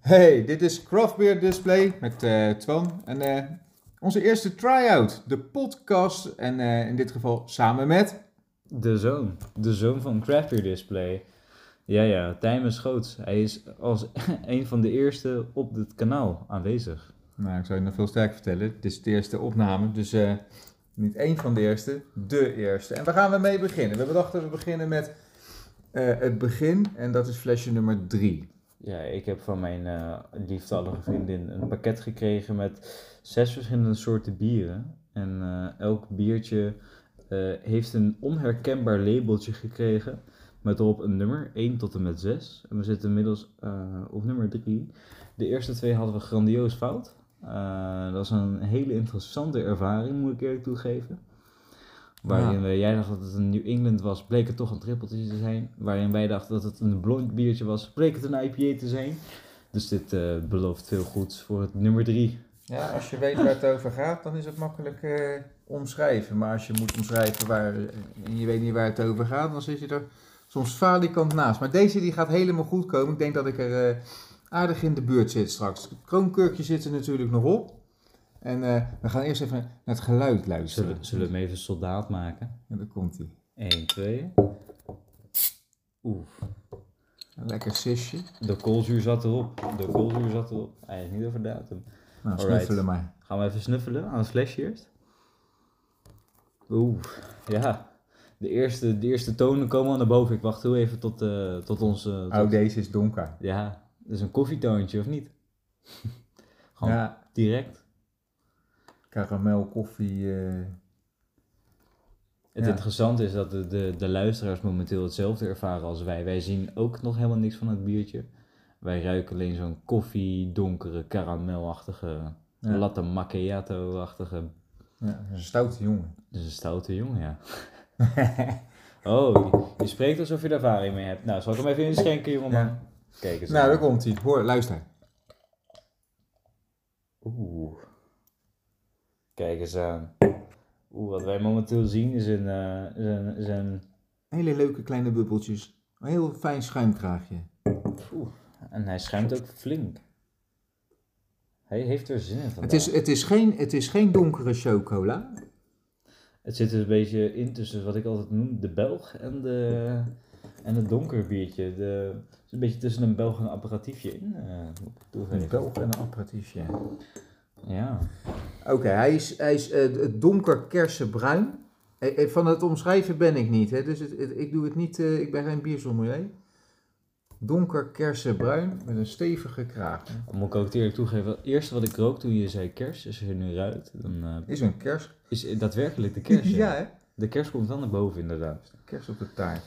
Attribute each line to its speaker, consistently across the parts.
Speaker 1: Hey, dit is Craft Beer Display met eh Twan. En eh, onze eerste try-out, de podcast. En eh, in dit geval samen met.
Speaker 2: De zoon. De zoon van Craft Beer Display. Ja, ja, Tijmen Schoots. Hij is als een van de eerste op dit kanaal aanwezig.
Speaker 1: Nou, ik zou je nog veel sterker vertellen. Dit is de eerste opname, dus eh, niet één van de eerste, de eerste. En waar gaan we mee beginnen? We bedachten we beginnen met eh, het begin. En dat is flesje nummer drie.
Speaker 2: Ja, ik heb van mijn eh, lieftallige vriendin een pakket gekregen met zes verschillende soorten bieren. En eh, elk biertje eh, heeft een onherkenbaar labeltje gekregen met erop een nummer, 1 tot en met 6. En we zitten inmiddels eh, op nummer 3. De eerste twee hadden we grandioos fout. Eh, dat was een hele interessante ervaring, moet ik eerlijk toegeven. Waarin eh, jij dacht dat het een New England was, bleek het toch een trippeltje te zijn. Waarin wij dachten dat het een blond biertje was, bleek het een IPA te zijn. Dus dit eh, belooft veel goeds voor het nummer 3.
Speaker 1: Ja, als je weet waar het over gaat, dan is het makkelijk eh, omschrijven. Maar als je moet omschrijven waar, eh, en je weet niet waar het over gaat, dan zit je er soms falikant naast. Maar deze die gaat helemaal goed komen. Ik denk dat ik er eh, aardig in de buurt zit straks. Kroonkurkje zit er natuurlijk nog op. En eh, we gaan eerst even naar het geluid luisteren.
Speaker 2: Zullen, zullen we hem even soldaat maken?
Speaker 1: En daar komt hij.
Speaker 2: 1, 2. Oeh,
Speaker 1: Een lekker sisje. Nou,
Speaker 2: de koolzuur zat erop. De koolzuur zat erop. Eigenlijk niet over datum.
Speaker 1: Nou,
Speaker 2: Alright.
Speaker 1: snuffelen maar.
Speaker 2: Gaan we even snuffelen aan het flesje eerst? Oeh, ja. De eerste, de eerste tonen komen al naar boven. Ik wacht heel even tot, eh, tot onze...
Speaker 1: Oh, deze is donker.
Speaker 2: Ja, dat is een koffietoontje, of niet? Gewoon
Speaker 1: Ja,
Speaker 2: direct.
Speaker 1: karamel, koffie. eh,
Speaker 2: Het
Speaker 1: Ja.
Speaker 2: interessante is dat de, de, de luisteraars momenteel hetzelfde ervaren als wij. Wij zien ook nog helemaal niks van het biertje. Wij ruiken alleen zo'n koffie, donkere, karamelachtige,
Speaker 1: Ja.
Speaker 2: latte macchiato-achtige.
Speaker 1: ja, een stoute jongen.
Speaker 2: Dus een stoute jongen, ja. oh, je, je spreekt alsof je er ervaring mee hebt. Nou, zal ik hem even inschenken, jongeman?
Speaker 1: Ja.
Speaker 2: Kijk eens.
Speaker 1: Nou,
Speaker 2: aan.
Speaker 1: daar komt hij. Hoor, luister.
Speaker 2: Oeh. Kijk eens aan. Oeh, wat wij momenteel zien is een, eh, is een, is een
Speaker 1: Hele leuke kleine bubbeltjes. Een heel fijn schuimkraagje.
Speaker 2: Oeh, en hij schuimt ook flink. Hij heeft er zin in vandaag.
Speaker 1: Het is, het, is geen, het is geen donkere chocola.
Speaker 2: Het zit dus een beetje in tussen wat ik altijd noem de Belg en, de, en het donker biertje. De, het is een beetje tussen een Belg en een apparatiefje in. eh, moet ik
Speaker 1: Een
Speaker 2: toegeven.
Speaker 1: belg en een aperitiefje.
Speaker 2: Ja.
Speaker 1: Oké, hij is, hij is eh, d- donker kersenbruin. Eh, eh, Van het omschrijven ben ik niet, hè? dus het, het- ik doe het niet, eh, ik ben geen biersommelier. Donker kersenbruin met een stevige kraag.
Speaker 2: Dan moet ik ook eerlijk toegeven. Het eerste wat ik rook toen je zei kers, is er nu uit. Dan eh,
Speaker 1: Is een kers.
Speaker 2: is daadwerkelijk de kers. ja.
Speaker 1: ja, hè?
Speaker 2: De kers komt dan naar boven inderdaad.
Speaker 1: Kers op de taart.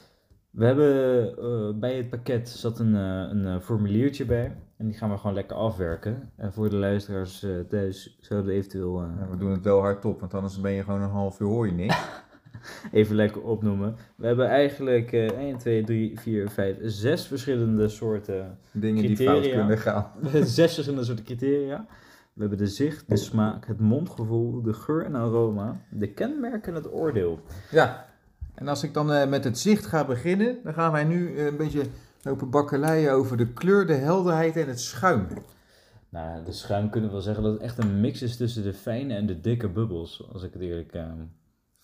Speaker 2: We hebben eh, bij het pakket zat een, eh, een eh, formuliertje bij. En die gaan we gewoon lekker afwerken. En voor de luisteraars eh, thuis zouden we eventueel eh,
Speaker 1: Ja, we doen het wel hardop, want anders ben je gewoon een half uur hoor je niks.
Speaker 2: even lekker opnoemen. We hebben eigenlijk eh 1, 2, 3, 4, 5, 6 verschillende soorten.
Speaker 1: Dingen die
Speaker 2: Criteria.
Speaker 1: fout kunnen gaan.
Speaker 2: zes verschillende soorten criteria. We hebben de zicht, de smaak, het mondgevoel, de geur en aroma, de kenmerken en het oordeel.
Speaker 1: Ja, en als ik dan eh, met het zicht ga beginnen, dan gaan wij nu eh, een beetje lopen bakkeleien over de kleur, de helderheid en het schuim.
Speaker 2: Nou, de schuim kunnen we wel zeggen dat het echt een mix is tussen de fijne en de dikke bubbels. Als ik het eerlijk. eh,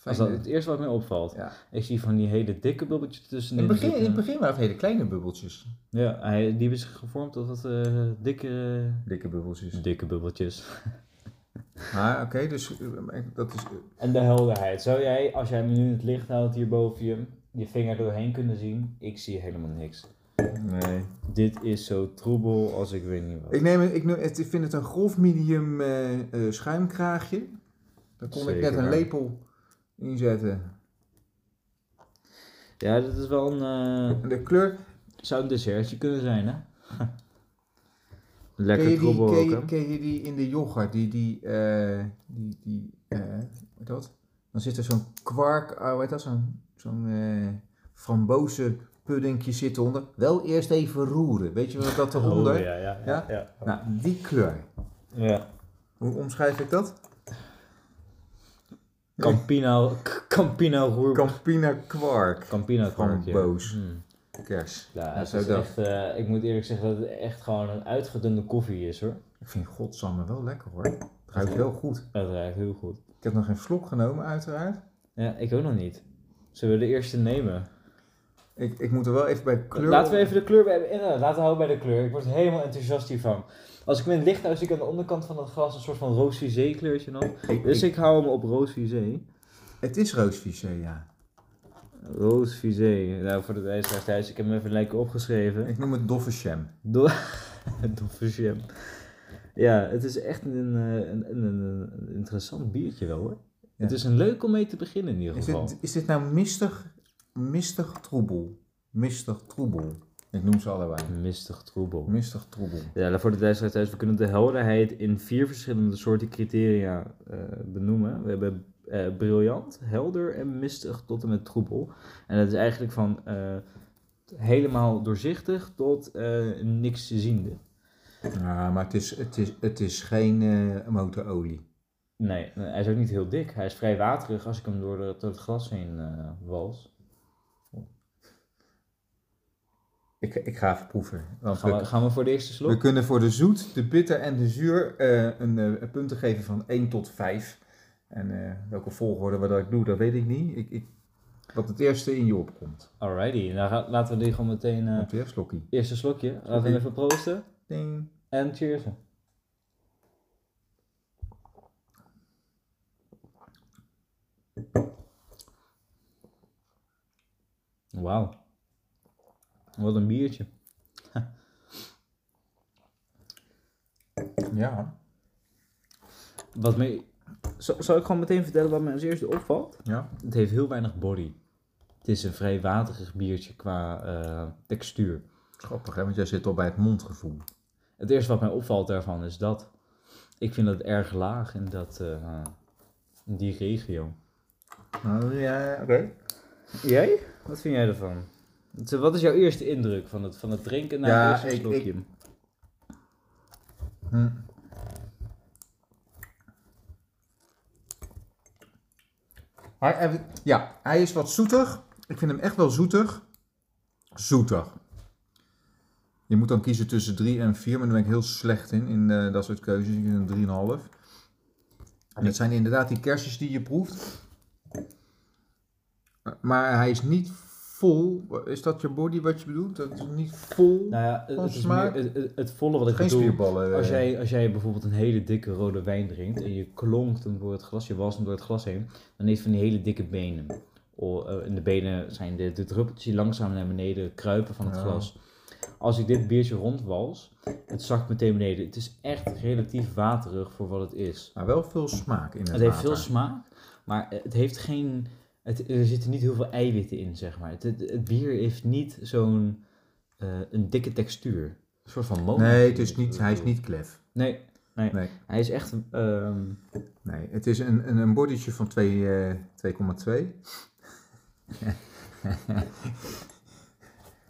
Speaker 2: als dat het eerste wat mij opvalt.
Speaker 1: Ja.
Speaker 2: Ik zie van die hele dikke bubbeltjes tussen.
Speaker 1: In het begin, in het
Speaker 2: zitten.
Speaker 1: begin waren het hele kleine bubbeltjes.
Speaker 2: eh, Ja, hij, die is gevormd tot wat eh, dikke, dus
Speaker 1: Dikke bubbeltjes.
Speaker 2: dikke bubbeltjes.
Speaker 1: Maar oké, dus eh, maar dat is... eh,
Speaker 2: En de helderheid. Zou jij, als jij hem nu in het licht houdt hier boven je, je vinger doorheen kunnen zien? Ik zie helemaal niks.
Speaker 1: nee.
Speaker 2: Dit is zo troebel als ik weet niet wat.
Speaker 1: Ik, neem, het- ik, neem, het- ik vind het een grof medium eh, eh, schuimkraagje. Daar kon ik
Speaker 2: Zeker
Speaker 1: net een
Speaker 2: waar.
Speaker 1: lepel in zetten.
Speaker 2: Ja, dit is wel een... eh,
Speaker 1: En de kleur...
Speaker 2: zou een dessertje kunnen zijn, hè?
Speaker 1: Ken je,
Speaker 2: Lekker
Speaker 1: die,
Speaker 2: troebel
Speaker 1: ken,
Speaker 2: ook,
Speaker 1: je,
Speaker 2: hè?
Speaker 1: ken je die in de yoghurt? Die, die, eh, die, die eh, hoe heet dat? Dan zit er zo'n kwark, oh, hoe heet dat? Zo'n zo'n eh frambozen puddingje zit onder. Wel eerst even roeren. Weet je wat dat eronder?
Speaker 2: Oh, ja, ja, ja, ja. ja.
Speaker 1: Nou, die kleur. Hoe omschrijf ik dat?
Speaker 2: Campino, Campino roer.
Speaker 1: Campina kwark.
Speaker 2: Campino kwark, ja.
Speaker 1: Framboos.
Speaker 2: Hmm.
Speaker 1: Kers.
Speaker 2: Ja,
Speaker 1: Ja,
Speaker 2: het
Speaker 1: zo
Speaker 2: is
Speaker 1: dat.
Speaker 2: echt, eh, ik moet eerlijk zeggen dat het echt gewoon een uitgedunde koffie is hoor.
Speaker 1: Ik vind godsamme wel lekker hoor. Het ruikt wel goed.
Speaker 2: Dat ruikt heel goed.
Speaker 1: Ik heb nog geen slok genomen uiteraard.
Speaker 2: Ja, ik ook nog niet. Zullen we de eerste nemen?
Speaker 1: Ik, ik moet er wel even bij kleur...
Speaker 2: Laten we even de kleur bij. inderdaad, laten we houden bij de kleur. Ik word helemaal enthousiast hiervan. Als ik met licht nou zie ik aan de onderkant van het glas een soort van roosvisé kleurtje nog.
Speaker 1: Ik-
Speaker 2: Dus
Speaker 1: ik-
Speaker 2: ik hou hem op roosvisé.
Speaker 1: Het is roosvisé, ja.
Speaker 2: Roosvisé. Nou, voor de luisteraars thuis, ik heb hem even lekker opgeschreven.
Speaker 1: Ik noem het doffe sham.
Speaker 2: Do- Doffe jam. Ja, het is echt een, eh, een, een, een- een interessant biertje wel hoor.
Speaker 1: Ja.
Speaker 2: Het is een leuk om mee te beginnen in ieder
Speaker 1: Is
Speaker 2: geval.
Speaker 1: dit, is dit nou mistig, mistig troebel? Mistig troebel. Ik noem ze allebei.
Speaker 2: Mistig troebel.
Speaker 1: Mistig troebel.
Speaker 2: Ja, voor de luisteraar thuis, we kunnen de helderheid in vier verschillende soorten criteria eh, benoemen. We hebben eh, briljant, helder en mistig tot en met troebel. En dat is eigenlijk van eh, helemaal doorzichtig tot eh, niks ziende.
Speaker 1: Ja, Ah, maar het is, het is, het is geen eh, motorolie.
Speaker 2: Nee, nee, hij is ook niet heel dik. Hij is vrij waterig als ik hem door, de, door het glas heen eh, wals.
Speaker 1: Ik, ik ga even proeven. Want
Speaker 2: Gaan we,
Speaker 1: we,
Speaker 2: gaan we voor de eerste slok?
Speaker 1: we kunnen voor de zoet, de bitter en de zuur eh, een eh, punten geven van 1 tot 5. En eh, welke volgorde we dat ik doe, dat weet ik niet. Ik, ik, wat het eerste in je opkomt.
Speaker 2: Alrighty, nou ga- laten we die gewoon meteen... eh
Speaker 1: Het eerste slokkie.
Speaker 2: eerste slokje. Laten we
Speaker 1: Slokje.
Speaker 2: hem even proosten.
Speaker 1: Ding.
Speaker 2: En cheers. Wauw. Wat een biertje.
Speaker 1: Ja,
Speaker 2: Wat mee... Zal, zal ik gewoon meteen vertellen wat mij als eerste opvalt?
Speaker 1: ja.
Speaker 2: Het heeft heel weinig body. Het is een vrij waterig biertje qua eh, textuur.
Speaker 1: Grappig hè, want jij zit al bij het mondgevoel.
Speaker 2: Het eerste wat mij opvalt daarvan is dat. Ik vind dat erg laag in, dat, eh, in die regio.
Speaker 1: Oh, ja, oké.
Speaker 2: Jij? Wat vind jij ervan? Het, eh, Wat is jouw eerste indruk van het, van het drinken na
Speaker 1: Ja,
Speaker 2: het eerste
Speaker 1: ik-
Speaker 2: slokje?
Speaker 1: ik- Hm. Hij, hij- ja, hij is wat zoetig. Ik vind hem echt wel zoetig. Zoetig. Je moet dan kiezen tussen 3 en 4, maar daar ben ik heel slecht in, in eh, dat soort keuzes. Ik vind een 3,5. En het zijn inderdaad die kerstjes die je proeft. Maar hij is niet vol. Is dat je body wat je bedoelt? Dat is niet vol.
Speaker 2: Nou ja, het,
Speaker 1: Van
Speaker 2: het is
Speaker 1: smaak?
Speaker 2: meer, het, het- het volle wat ik
Speaker 1: Geen
Speaker 2: bedoel.
Speaker 1: spierballen. eh.
Speaker 2: Als jij, als jij bijvoorbeeld een hele dikke rode wijn drinkt en je klonkt hem door het glas, je was hem door het glas heen, dan heeft hij van die hele dikke benen. O, eh, en de benen zijn de, de druppeltjes die langzaam naar beneden kruipen van het
Speaker 1: Ja.
Speaker 2: glas. Als ik dit biertje rondwals, het zakt meteen beneden. Het is echt relatief waterig voor wat het is.
Speaker 1: Maar wel veel smaak in het,
Speaker 2: Het heeft
Speaker 1: water.
Speaker 2: veel smaak, maar het heeft geen. Het, er zitten niet heel veel eiwitten in, zeg maar. Het, het, het bier heeft niet zo'n eh, een dikke textuur. Een soort van loon.
Speaker 1: Nee, het is niet, hij is niet klef.
Speaker 2: Nee, nee.
Speaker 1: Nee.
Speaker 2: Hij is echt. ehm,
Speaker 1: Nee, het is een, een, een bodytje van twee, eh, 2,2. een,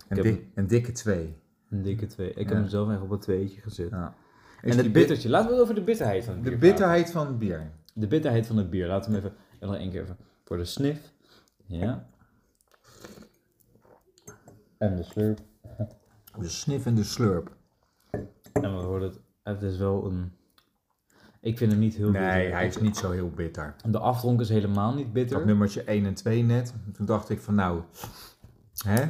Speaker 2: heb
Speaker 1: dik- een dikke 2.
Speaker 2: een dikke twee. Ik
Speaker 1: Ja.
Speaker 2: heb hem zelf echt op een tweetje gezet.
Speaker 1: Ja. Is
Speaker 2: En
Speaker 1: die
Speaker 2: het
Speaker 1: bit-
Speaker 2: bittertje. Laten we het over de bitterheid van het bier
Speaker 1: De
Speaker 2: praten.
Speaker 1: bitterheid van het bier.
Speaker 2: De bitterheid van het bier. Laten we hem even. en Nog één keer even. Voor de sniff. Ja. En de slurp.
Speaker 1: De sniff en de slurp.
Speaker 2: En we horen het. Het is wel een. Ik vind hem niet heel
Speaker 1: Nee,
Speaker 2: bitter.
Speaker 1: hij is niet zo heel bitter.
Speaker 2: De afdronk is helemaal niet bitter.
Speaker 1: Dat nummertje 1 en 2 net. Toen dacht ik van nou, hè?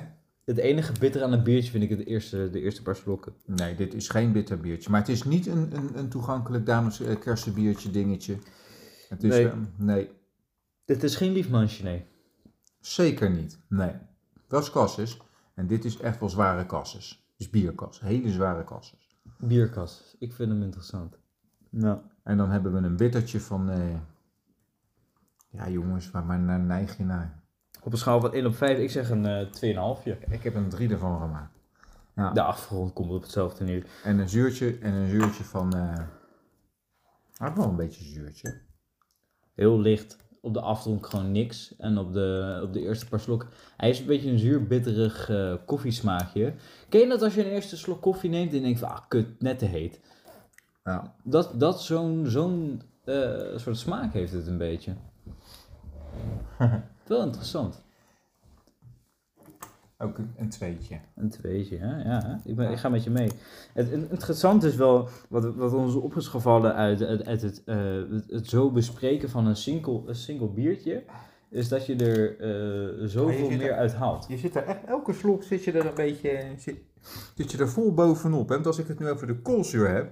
Speaker 2: Het enige bitter aan het biertje vind ik het eerste, de eerste paar slokken.
Speaker 1: Nee, dit is geen bitter biertje. Maar het is niet een, een, een toegankelijk dames eh, kersenbiertje dingetje. Het is,
Speaker 2: Nee.
Speaker 1: eh, nee.
Speaker 2: Dit is geen liefmansje, nee.
Speaker 1: Zeker niet. Nee. Dat is kasses. En dit is echt wel zware kasses. Dus bierkas. Hele zware kasses.
Speaker 2: Bierkas. Ik vind hem interessant. Nou.
Speaker 1: En dan hebben we een bittertje van. eh, Ja, jongens, waar, waar naar neig je naar?
Speaker 2: Op een schaal van 1 op 5, ik zeg een eh 2,5.
Speaker 1: Ik heb een drie ervan gemaakt. Ja.
Speaker 2: De afgrond komt op hetzelfde neer.
Speaker 1: En een zuurtje. En een zuurtje van. eh had wel een beetje zuurtje.
Speaker 2: Heel licht. Op de afdronk gewoon niks. En op de, op de eerste paar slokken. Hij is een beetje een zuur, bitterig eh, koffiesmaakje. Ken je dat als je een eerste slok koffie neemt en denkt van, ah kut, net te heet.
Speaker 1: Ja.
Speaker 2: Dat, dat zo'n zo'n eh, soort smaak heeft het een beetje. Wel interessant.
Speaker 1: Ook een, een tweetje.
Speaker 2: Een tweetje, hè? Ja, hè? ik, ben, ik ga met je mee. Het, het interessante is wel, wat, wat ons op is gevallen uit, uit, uit het, eh, het, het zo bespreken van een single, een single biertje, is dat je er eh, zoveel
Speaker 1: zit
Speaker 2: meer
Speaker 1: er-
Speaker 2: uit haalt.
Speaker 1: Je zit er echt, elke slok zit je er een beetje, zit, zit je er vol bovenop. hè. Want als ik het nu over de koolzuur heb,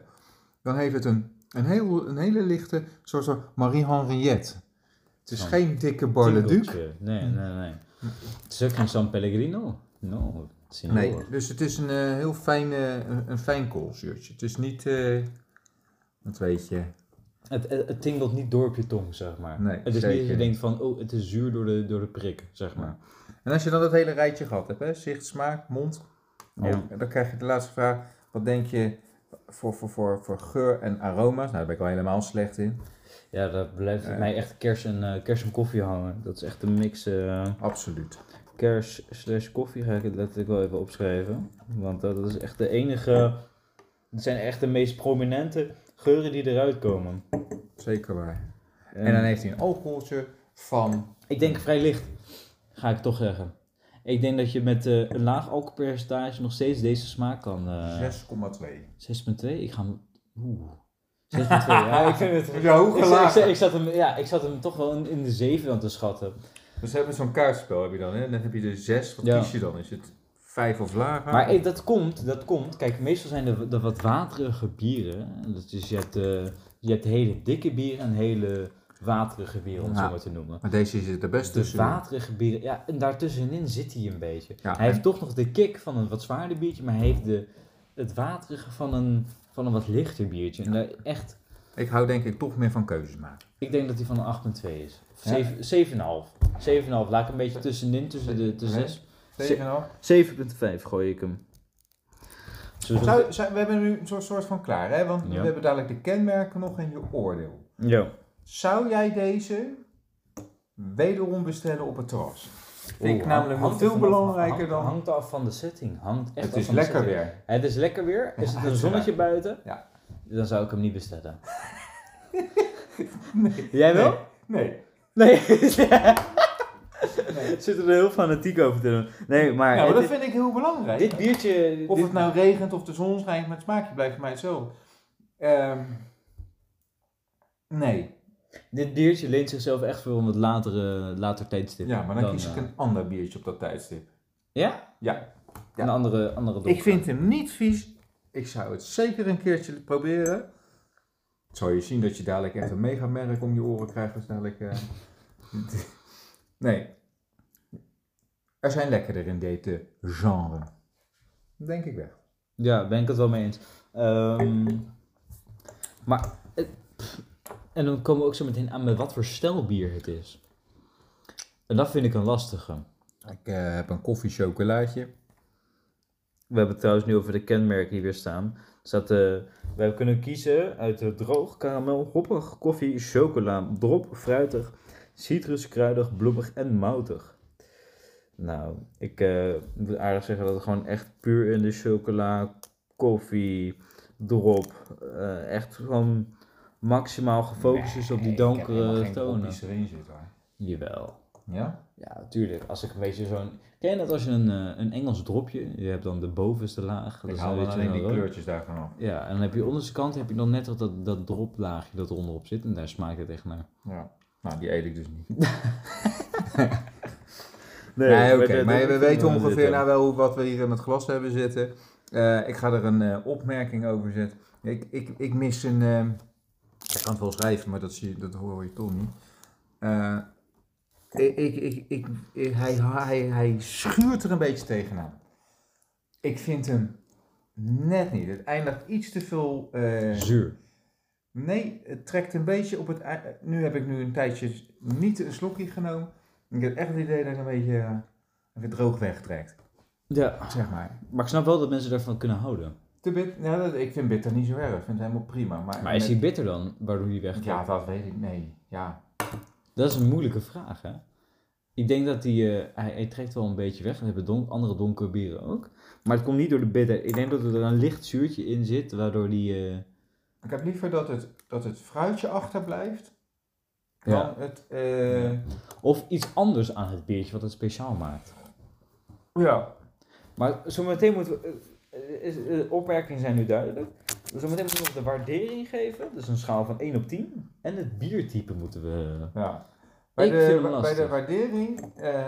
Speaker 1: dan heeft het een, een, heel, een hele lichte soort van Marie-Henriette. Het is
Speaker 2: Zo'n
Speaker 1: geen dikke Borleduc.
Speaker 2: Tinkeltje. Nee,
Speaker 1: Hm.
Speaker 2: nee, nee. Het is ook geen San Pellegrino. No, signor.
Speaker 1: Nee, dus het is een eh, heel fijn, eh, een, een fijn koolzuurtje. Het is niet, eh dat weet je,
Speaker 2: Het, het, het tingelt niet door op je tong, zeg maar.
Speaker 1: Nee,
Speaker 2: het is niet dat
Speaker 1: zeker
Speaker 2: je
Speaker 1: niet.
Speaker 2: denkt van, oh, het is zuur door de, door de prik, zeg maar.
Speaker 1: En als je dan dat hele rijtje gehad hebt, hè? zicht, smaak, mond,
Speaker 2: Ja.
Speaker 1: dan krijg je de laatste vraag. Wat denk je voor, voor, voor, voor geur en aroma's? Nou, daar ben ik al helemaal slecht in.
Speaker 2: Ja, dat blijft
Speaker 1: Ja.
Speaker 2: mij echt kers en, eh, kers en koffie hangen. Dat is echt een mix eh,
Speaker 1: Absoluut.
Speaker 2: kers slash koffie, ga ik het letterlijk wel even opschrijven. Want dat is echt de enige, het zijn echt de meest prominente geuren die eruit komen.
Speaker 1: Zeker waar.
Speaker 2: En,
Speaker 1: En, dan heeft hij een alcoholtje van...
Speaker 2: Ik denk vrij licht, ga ik toch zeggen. Ik denk dat je met eh, een laag alcoholpercentage nog steeds deze smaak kan... eh,
Speaker 1: 6,2.
Speaker 2: 6.2, ik ga hem... Oeh. 6.2, ja, ik vind het...
Speaker 1: Moet je hoog
Speaker 2: Ik, zat- ik, zat-
Speaker 1: gelaten.
Speaker 2: ik zat hem, ja, ik zat hem toch wel in, in de 7 aan te schatten.
Speaker 1: Dus hebben we zo'n kaartspel heb je dan, hè? Dan heb je er 6. Wat
Speaker 2: Ja.
Speaker 1: kies je dan? Is het 5 of lager?
Speaker 2: Maar eh, dat komt, dat komt. Kijk, meestal zijn de, de wat waterige bieren. Dat is, je, hebt, eh, je hebt hele dikke bieren en hele waterige bieren, om het
Speaker 1: Ja.
Speaker 2: zo maar te noemen.
Speaker 1: Maar deze zit er best
Speaker 2: Dus
Speaker 1: tussen.
Speaker 2: waterige bieren, ja, en daartussenin zit hij een beetje.
Speaker 1: Ja,
Speaker 2: hij
Speaker 1: en-
Speaker 2: heeft toch nog de kick van een wat zwaarder biertje, maar hij heeft de, het waterige van een, van een wat lichter biertje. En daar echt,
Speaker 1: Ik hou denk ik toch meer van keuzes maken.
Speaker 2: ik denk dat hij van een 8,2 is. Of
Speaker 1: Ja.
Speaker 2: zeven- 7,5. 7,5, laat ik een beetje tussenin, tussen de, de
Speaker 1: Ja.
Speaker 2: 6.
Speaker 1: 7,5.
Speaker 2: 7.5 gooi ik hem. Zullen we-
Speaker 1: Zou, zou- we hebben nu een soort, soort van klaar, hè? Want
Speaker 2: Dus Ja.
Speaker 1: we hebben dadelijk de kenmerken nog en je oordeel.
Speaker 2: Ja.
Speaker 1: Zou jij deze wederom bestellen op het terras? Vind ik
Speaker 2: Oeh,
Speaker 1: namelijk nog
Speaker 2: hangt er
Speaker 1: veel
Speaker 2: vanaf-
Speaker 1: belangrijker
Speaker 2: hangt-
Speaker 1: dan...
Speaker 2: Hangt af van de setting. Hangt echt
Speaker 1: Het
Speaker 2: af
Speaker 1: is
Speaker 2: van de
Speaker 1: lekker
Speaker 2: setting.
Speaker 1: weer.
Speaker 2: Het is lekker weer. Is het een
Speaker 1: uiteraard.
Speaker 2: zonnetje buiten?
Speaker 1: Ja.
Speaker 2: Dan zou ik hem niet bestellen. Jij wel?
Speaker 1: Nee.
Speaker 2: Nee. Zit er heel fanatiek over te doen. Nee, maar.
Speaker 1: Nou,
Speaker 2: het
Speaker 1: dat
Speaker 2: is-
Speaker 1: vind ik heel belangrijk.
Speaker 2: dit biertje.
Speaker 1: of
Speaker 2: dit-
Speaker 1: het nou regent of de zon schijnt, maar het smaakje blijft voor mij hetzelfde. Ehm, nee.
Speaker 2: Dit biertje leent zichzelf echt voor om het latere, later tijdstip.
Speaker 1: Ja, maar dan, kies ik
Speaker 2: eh,
Speaker 1: een ander biertje op dat tijdstip.
Speaker 2: Ja?
Speaker 1: Ja.
Speaker 2: Een andere, andere
Speaker 1: Ik vind hem niet vies. Ik zou het zeker een keertje proberen. Zou je zien dat je dadelijk echt een megamerk om je oren krijgt als dadelijk... eh, nee. Er zijn lekkerder in dit eh, genre. Denk ik wel.
Speaker 2: Ja, ben ik het wel mee eens. Ehm, maar, eh, pff, en dan komen we ook zo meteen aan met wat voor stijl bier het is. En dat vind ik een lastige.
Speaker 1: Ik eh, heb een koffiechocolaatje.
Speaker 2: We hebben het trouwens nu over de kenmerken die weer staan. Dus dat, eh, wij kunnen kiezen uit eh, droog, karamel, hoppig, koffie, chocola, drop, fruitig, citrus, kruidig, bloemig en moutig. Nou, ik eh, wil aardig zeggen dat het gewoon echt puur in de chocola, koffie, drop, eh, echt gewoon maximaal gefocust is op die donkere tonen.
Speaker 1: Die erin zit hoor.
Speaker 2: Jawel.
Speaker 1: Ja?
Speaker 2: Ja, tuurlijk. Als ik een beetje zo'n... Ken je dat als je een, eh, een Engels dropje, je hebt dan de bovenste laag. dat
Speaker 1: Ik
Speaker 2: is
Speaker 1: haal
Speaker 2: een
Speaker 1: dan
Speaker 2: beetje
Speaker 1: alleen
Speaker 2: een
Speaker 1: die
Speaker 2: rood.
Speaker 1: kleurtjes daarvan af.
Speaker 2: Ja, en dan heb je onderste kant heb je dan net dat, dat, dat droplaagje dat eronder zit. En daar smaakt het echt naar.
Speaker 1: Ja. Nou, die eet ik dus niet.
Speaker 2: Nee,
Speaker 1: Nee, oké, maar we weten ongeveer nou wel hoe- wat we hier in het glas hebben zitten. Eh, ik ga er een eh, opmerking over zetten. Ik, ik, ik mis een. eh, ik kan het wel schrijven, maar dat, zie, je- dat hoor je toch niet. Eh, ik, ik, ik, ik, ik- hij, hij, hij schuurt er een beetje tegenaan. Ik vind hem net niet. Het eindigt iets te veel. eh,
Speaker 2: Zuur.
Speaker 1: Nee, het trekt een beetje op het. ei- Nu heb ik nu een tijdje niet een slokje genomen. Ik heb echt het idee dat ik een beetje eh, even droog wegtrekt.
Speaker 2: Ja,
Speaker 1: Zeg maar.
Speaker 2: maar ik snap wel dat mensen daarvan kunnen houden.
Speaker 1: Te bit, nou, dat, ik vind bitter niet zo erg. Ik vind het helemaal prima. Maar,
Speaker 2: Maar is
Speaker 1: met-
Speaker 2: die bitter dan, waardoor die weg
Speaker 1: Ja, dat weet ik. Nee. Ja.
Speaker 2: Dat is een moeilijke vraag, hè? Ik denk dat die, eh, hij, hij trekt wel een beetje weg. Dat hebben don- andere donkere bieren ook. Maar het komt niet door de bitter. Ik denk dat er een licht zuurtje in zit, waardoor die... eh,
Speaker 1: Ik heb liever dat het, dat het fruitje achterblijft. Dan
Speaker 2: Ja.
Speaker 1: het. eh,
Speaker 2: Of iets anders aan het biertje wat het speciaal maakt.
Speaker 1: Ja.
Speaker 2: Maar zometeen moeten we. eh, is- eh, opmerkingen zijn nu duidelijk. Zometeen moeten we nog de waardering geven. Dus een schaal van 1 op 10. En het biertype moeten we. eh,
Speaker 1: ja. Bij,
Speaker 2: Ik vind
Speaker 1: de,
Speaker 2: hem
Speaker 1: bij de
Speaker 2: lastig.
Speaker 1: waardering eh,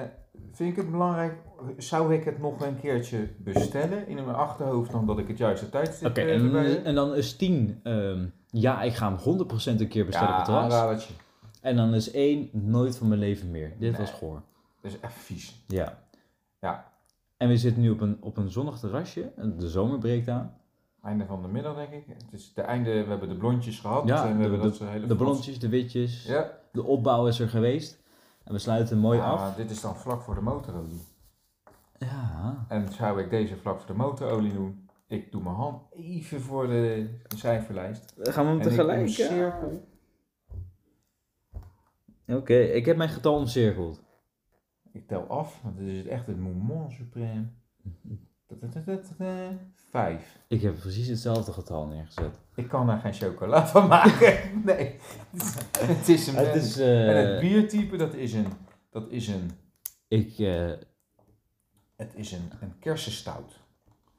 Speaker 1: vind ik het belangrijk, zou ik het nog een keertje bestellen in mijn achterhoofd dan dat ik het juiste tijdstip
Speaker 2: Oké,
Speaker 1: eh, erbij
Speaker 2: en,
Speaker 1: heb?
Speaker 2: en dan is 10. ehm, ja, ik ga hem 100% een keer bestellen op het
Speaker 1: Ja,
Speaker 2: terras.
Speaker 1: aanradertje.
Speaker 2: En dan is 1 nooit van mijn leven meer. Dit
Speaker 1: Nee.
Speaker 2: was goor.
Speaker 1: Dat is echt vies.
Speaker 2: Ja.
Speaker 1: Ja.
Speaker 2: En we zitten nu op een, op een zonnig terrasje. en De zomer breekt aan.
Speaker 1: Einde van de middag, denk ik. Het is de einde, we hebben de blondjes gehad.
Speaker 2: Ja,
Speaker 1: en we
Speaker 2: de-
Speaker 1: hebben dat ze hele
Speaker 2: De blondjes, de witjes.
Speaker 1: Ja,
Speaker 2: De opbouw is er geweest. En we sluiten mooi
Speaker 1: Ah,
Speaker 2: af.
Speaker 1: dit is dan vlak voor de motorolie.
Speaker 2: Ja.
Speaker 1: En zou ik deze vlak voor de motorolie doen? Ik doe mijn hand even voor de cijferlijst.
Speaker 2: Gaan we hem
Speaker 1: En ik
Speaker 2: tegelijk?
Speaker 1: doe een
Speaker 2: ja?
Speaker 1: cirkel.
Speaker 2: Oké, ik heb mijn getal omcirkeld.
Speaker 1: Ik tel af, want dit is echt het moment supreme. Ta-ta-ta-ta-ta. Vijf.
Speaker 2: Ik heb precies hetzelfde getal neergezet.
Speaker 1: Ik kan daar geen chocola van maken. Nee. Het is een
Speaker 2: het is, eh,
Speaker 1: En het biertype, dat is een... Dat is een...
Speaker 2: ik, eh, een
Speaker 1: Het is een, een kersenstout.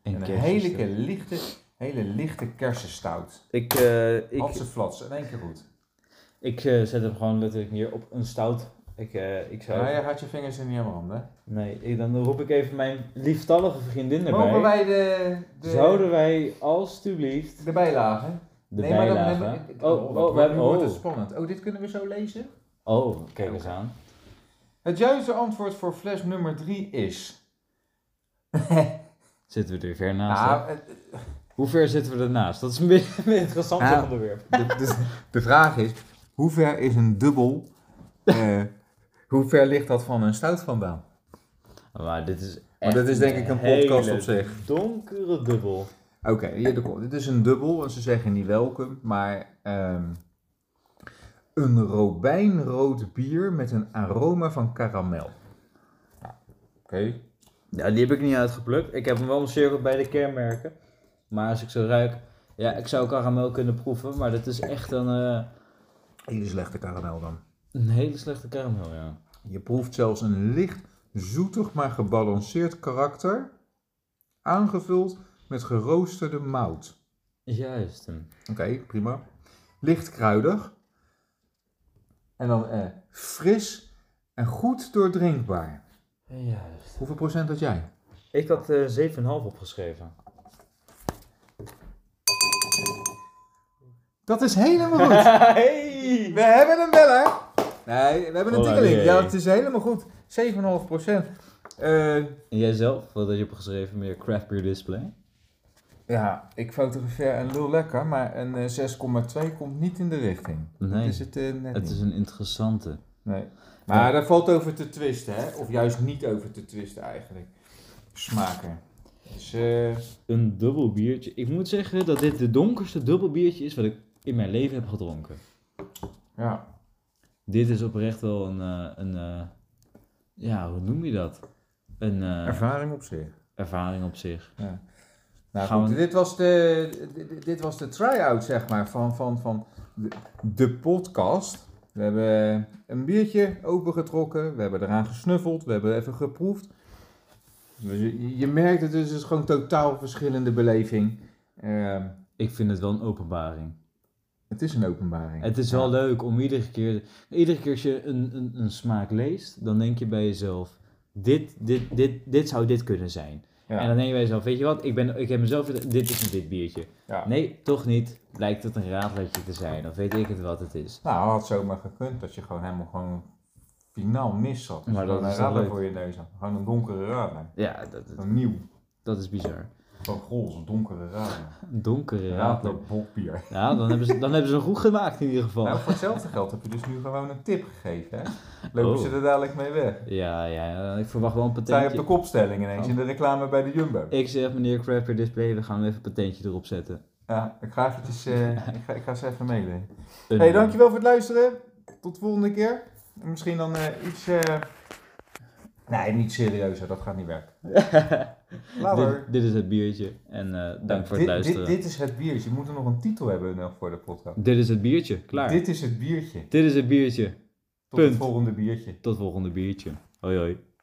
Speaker 1: En een
Speaker 2: kerststuk.
Speaker 1: hele, lichte, hele lichte kersenstout.
Speaker 2: eh, Ik, eh, ik,
Speaker 1: Hatse flats, in één keer goed.
Speaker 2: ik eh, zet hem gewoon letterlijk neer op een stout. Ik, eh, ik zou...
Speaker 1: Ja, je had je vingers in je handen.
Speaker 2: Nee, ik- dan roep ik even mijn lieftallige vriendin erbij.
Speaker 1: Mogen wij de, de,
Speaker 2: Zouden wij alstublieft
Speaker 1: de bijlagen?
Speaker 2: de
Speaker 1: Nee, maar dan
Speaker 2: bijlage...
Speaker 1: hebben we-
Speaker 2: oh,
Speaker 1: dat
Speaker 2: oh, we hebben...
Speaker 1: wordt het
Speaker 2: Oh,
Speaker 1: spannend. Oh, dit kunnen we zo lezen?
Speaker 2: oh, kijk eens aan.
Speaker 1: Het juiste antwoord voor fles nummer 3 is...
Speaker 2: Zitten we er ver naast? hè?
Speaker 1: Ah, het-
Speaker 2: Hoe ver zitten we ernaast? Dat is een meer meer interessant
Speaker 1: Ah.
Speaker 2: onderwerp.
Speaker 1: de, de, de vraag is, hoe ver is een dubbel... eh, hoe ver ligt dat van een stout vandaan?
Speaker 2: Maar dit is
Speaker 1: Maar dat is denk ik een podcast op zich.
Speaker 2: donkere dubbel.
Speaker 1: Oké, hier de kom. Dit is een dubbel en ze zeggen niet welkom, maar ehm, een robijnrood bier met een aroma van karamel. Oké.
Speaker 2: Ja, die heb ik niet uitgeplukt. Ik heb hem wel omcirkeld bij de kenmerken. Maar als ik zo ruik... Ja, ik zou karamel kunnen proeven, maar dat is echt een, eh,
Speaker 1: Hele slechte karamel dan.
Speaker 2: een hele slechte karamel, ja.
Speaker 1: Je proeft zelfs een licht zoetig maar gebalanceerd karakter, aangevuld met geroosterde mout.
Speaker 2: Juist.
Speaker 1: Oké, prima. Licht kruidig. En dan eh, fris en goed doordrinkbaar.
Speaker 2: Juist.
Speaker 1: Hoeveel procent had jij?
Speaker 2: Ik had eh 7,5 opgeschreven.
Speaker 1: Dat is helemaal goed.
Speaker 2: Hey!
Speaker 1: We hebben een beller. Nee, we hebben een
Speaker 2: Oh,
Speaker 1: tingeling.
Speaker 2: jee.
Speaker 1: Ja, het is helemaal goed. 7,5 Eh,
Speaker 2: En jij zelf, wat had je opgeschreven met je craft beer display?
Speaker 1: ja, ik fotografeer een lul lekker, maar een eh, 6,2 komt niet in de richting. Dat
Speaker 2: Nee,
Speaker 1: is het eh, net
Speaker 2: het
Speaker 1: niet.
Speaker 2: is een interessante.
Speaker 1: Nee. Maar daar valt over te twisten, hè? Of juist niet over te twisten eigenlijk. Smaken. Dus, eh,
Speaker 2: Een dubbel biertje. Ik moet zeggen dat dit de donkerste dubbel biertje is wat ik in mijn leven heb gedronken.
Speaker 1: ja.
Speaker 2: Dit is oprecht wel een, eh, een eh, ja, hoe noem je dat? Een eh,
Speaker 1: Ervaring op zich.
Speaker 2: ervaring op zich.
Speaker 1: Nou
Speaker 2: Gaan
Speaker 1: goed,
Speaker 2: we-
Speaker 1: dit was de, dit- dit was de try-out, zeg maar, van, van, van de, de podcast. We hebben een biertje opengetrokken, we hebben eraan gesnuffeld, we hebben even geproefd. Dus je, je merkt het, dus het is gewoon totaal verschillende beleving. Ehm,
Speaker 2: Ik vind het wel een openbaring.
Speaker 1: het is een openbaring.
Speaker 2: Het is wel leuk om iedere keer, iedere keer als je een, een, een smaak leest, dan denk je bij jezelf, dit, dit, dit, dit zou dit kunnen zijn.
Speaker 1: Ja.
Speaker 2: En dan denk je bij jezelf, weet je wat, ik, ben, ik heb mezelf, dit is een dit biertje.
Speaker 1: Ja.
Speaker 2: Nee, toch niet. Lijkt het een raadletje te zijn, of weet ik het wat het is.
Speaker 1: Nou, had zomaar gekund dat je gewoon helemaal gewoon finaal mis zat. Dus
Speaker 2: Maar dat
Speaker 1: gewoon een
Speaker 2: is toch
Speaker 1: radar
Speaker 2: leuk?
Speaker 1: voor je neus had. Gewoon een donkere radar.
Speaker 2: Ja, dat, dat,
Speaker 1: Een nieuw,
Speaker 2: dat is bizar.
Speaker 1: van roze, donkere radar.
Speaker 2: Een donkere
Speaker 1: Radar
Speaker 2: raadletje.
Speaker 1: bokbier.
Speaker 2: Ja, dan hebben, ze, dan hebben ze hem goed gemaakt in ieder
Speaker 1: Nou,
Speaker 2: geval.
Speaker 1: voor hetzelfde geld heb je dus nu gewoon een tip gegeven, hè? Lopen
Speaker 2: Oh.
Speaker 1: ze er dadelijk mee weg?
Speaker 2: Ja, ja, ja, ik verwacht wel een
Speaker 1: Sta je op de
Speaker 2: patentje.
Speaker 1: kopstelling ineens
Speaker 2: Oh.
Speaker 1: in de reclame bij de Jumbo?
Speaker 2: Ik zeg, meneer Crapper Display, we gaan hem even een patentje erop zetten.
Speaker 1: Ja, ik ga, eventjes, eh, ik ga, ik ga ze even meedoen.
Speaker 2: Een-
Speaker 1: hey, dankjewel voor het luisteren. Tot de volgende keer. En Misschien dan eh, iets... eh, Nee, niet serieuzer. Dat gaat niet werken. Later.
Speaker 2: Dit, dit is het biertje en eh, dank voor het
Speaker 1: Dit-
Speaker 2: luisteren.
Speaker 1: Dit, dit is het biertje. Je moet er nog een titel hebben nog voor de podcast.
Speaker 2: Dit is het biertje, klaar. Dit,
Speaker 1: Dit is het biertje. Tot
Speaker 2: is het biertje.
Speaker 1: het
Speaker 2: Punt.
Speaker 1: volgende biertje.
Speaker 2: Tot volgende biertje. Hoi hoi.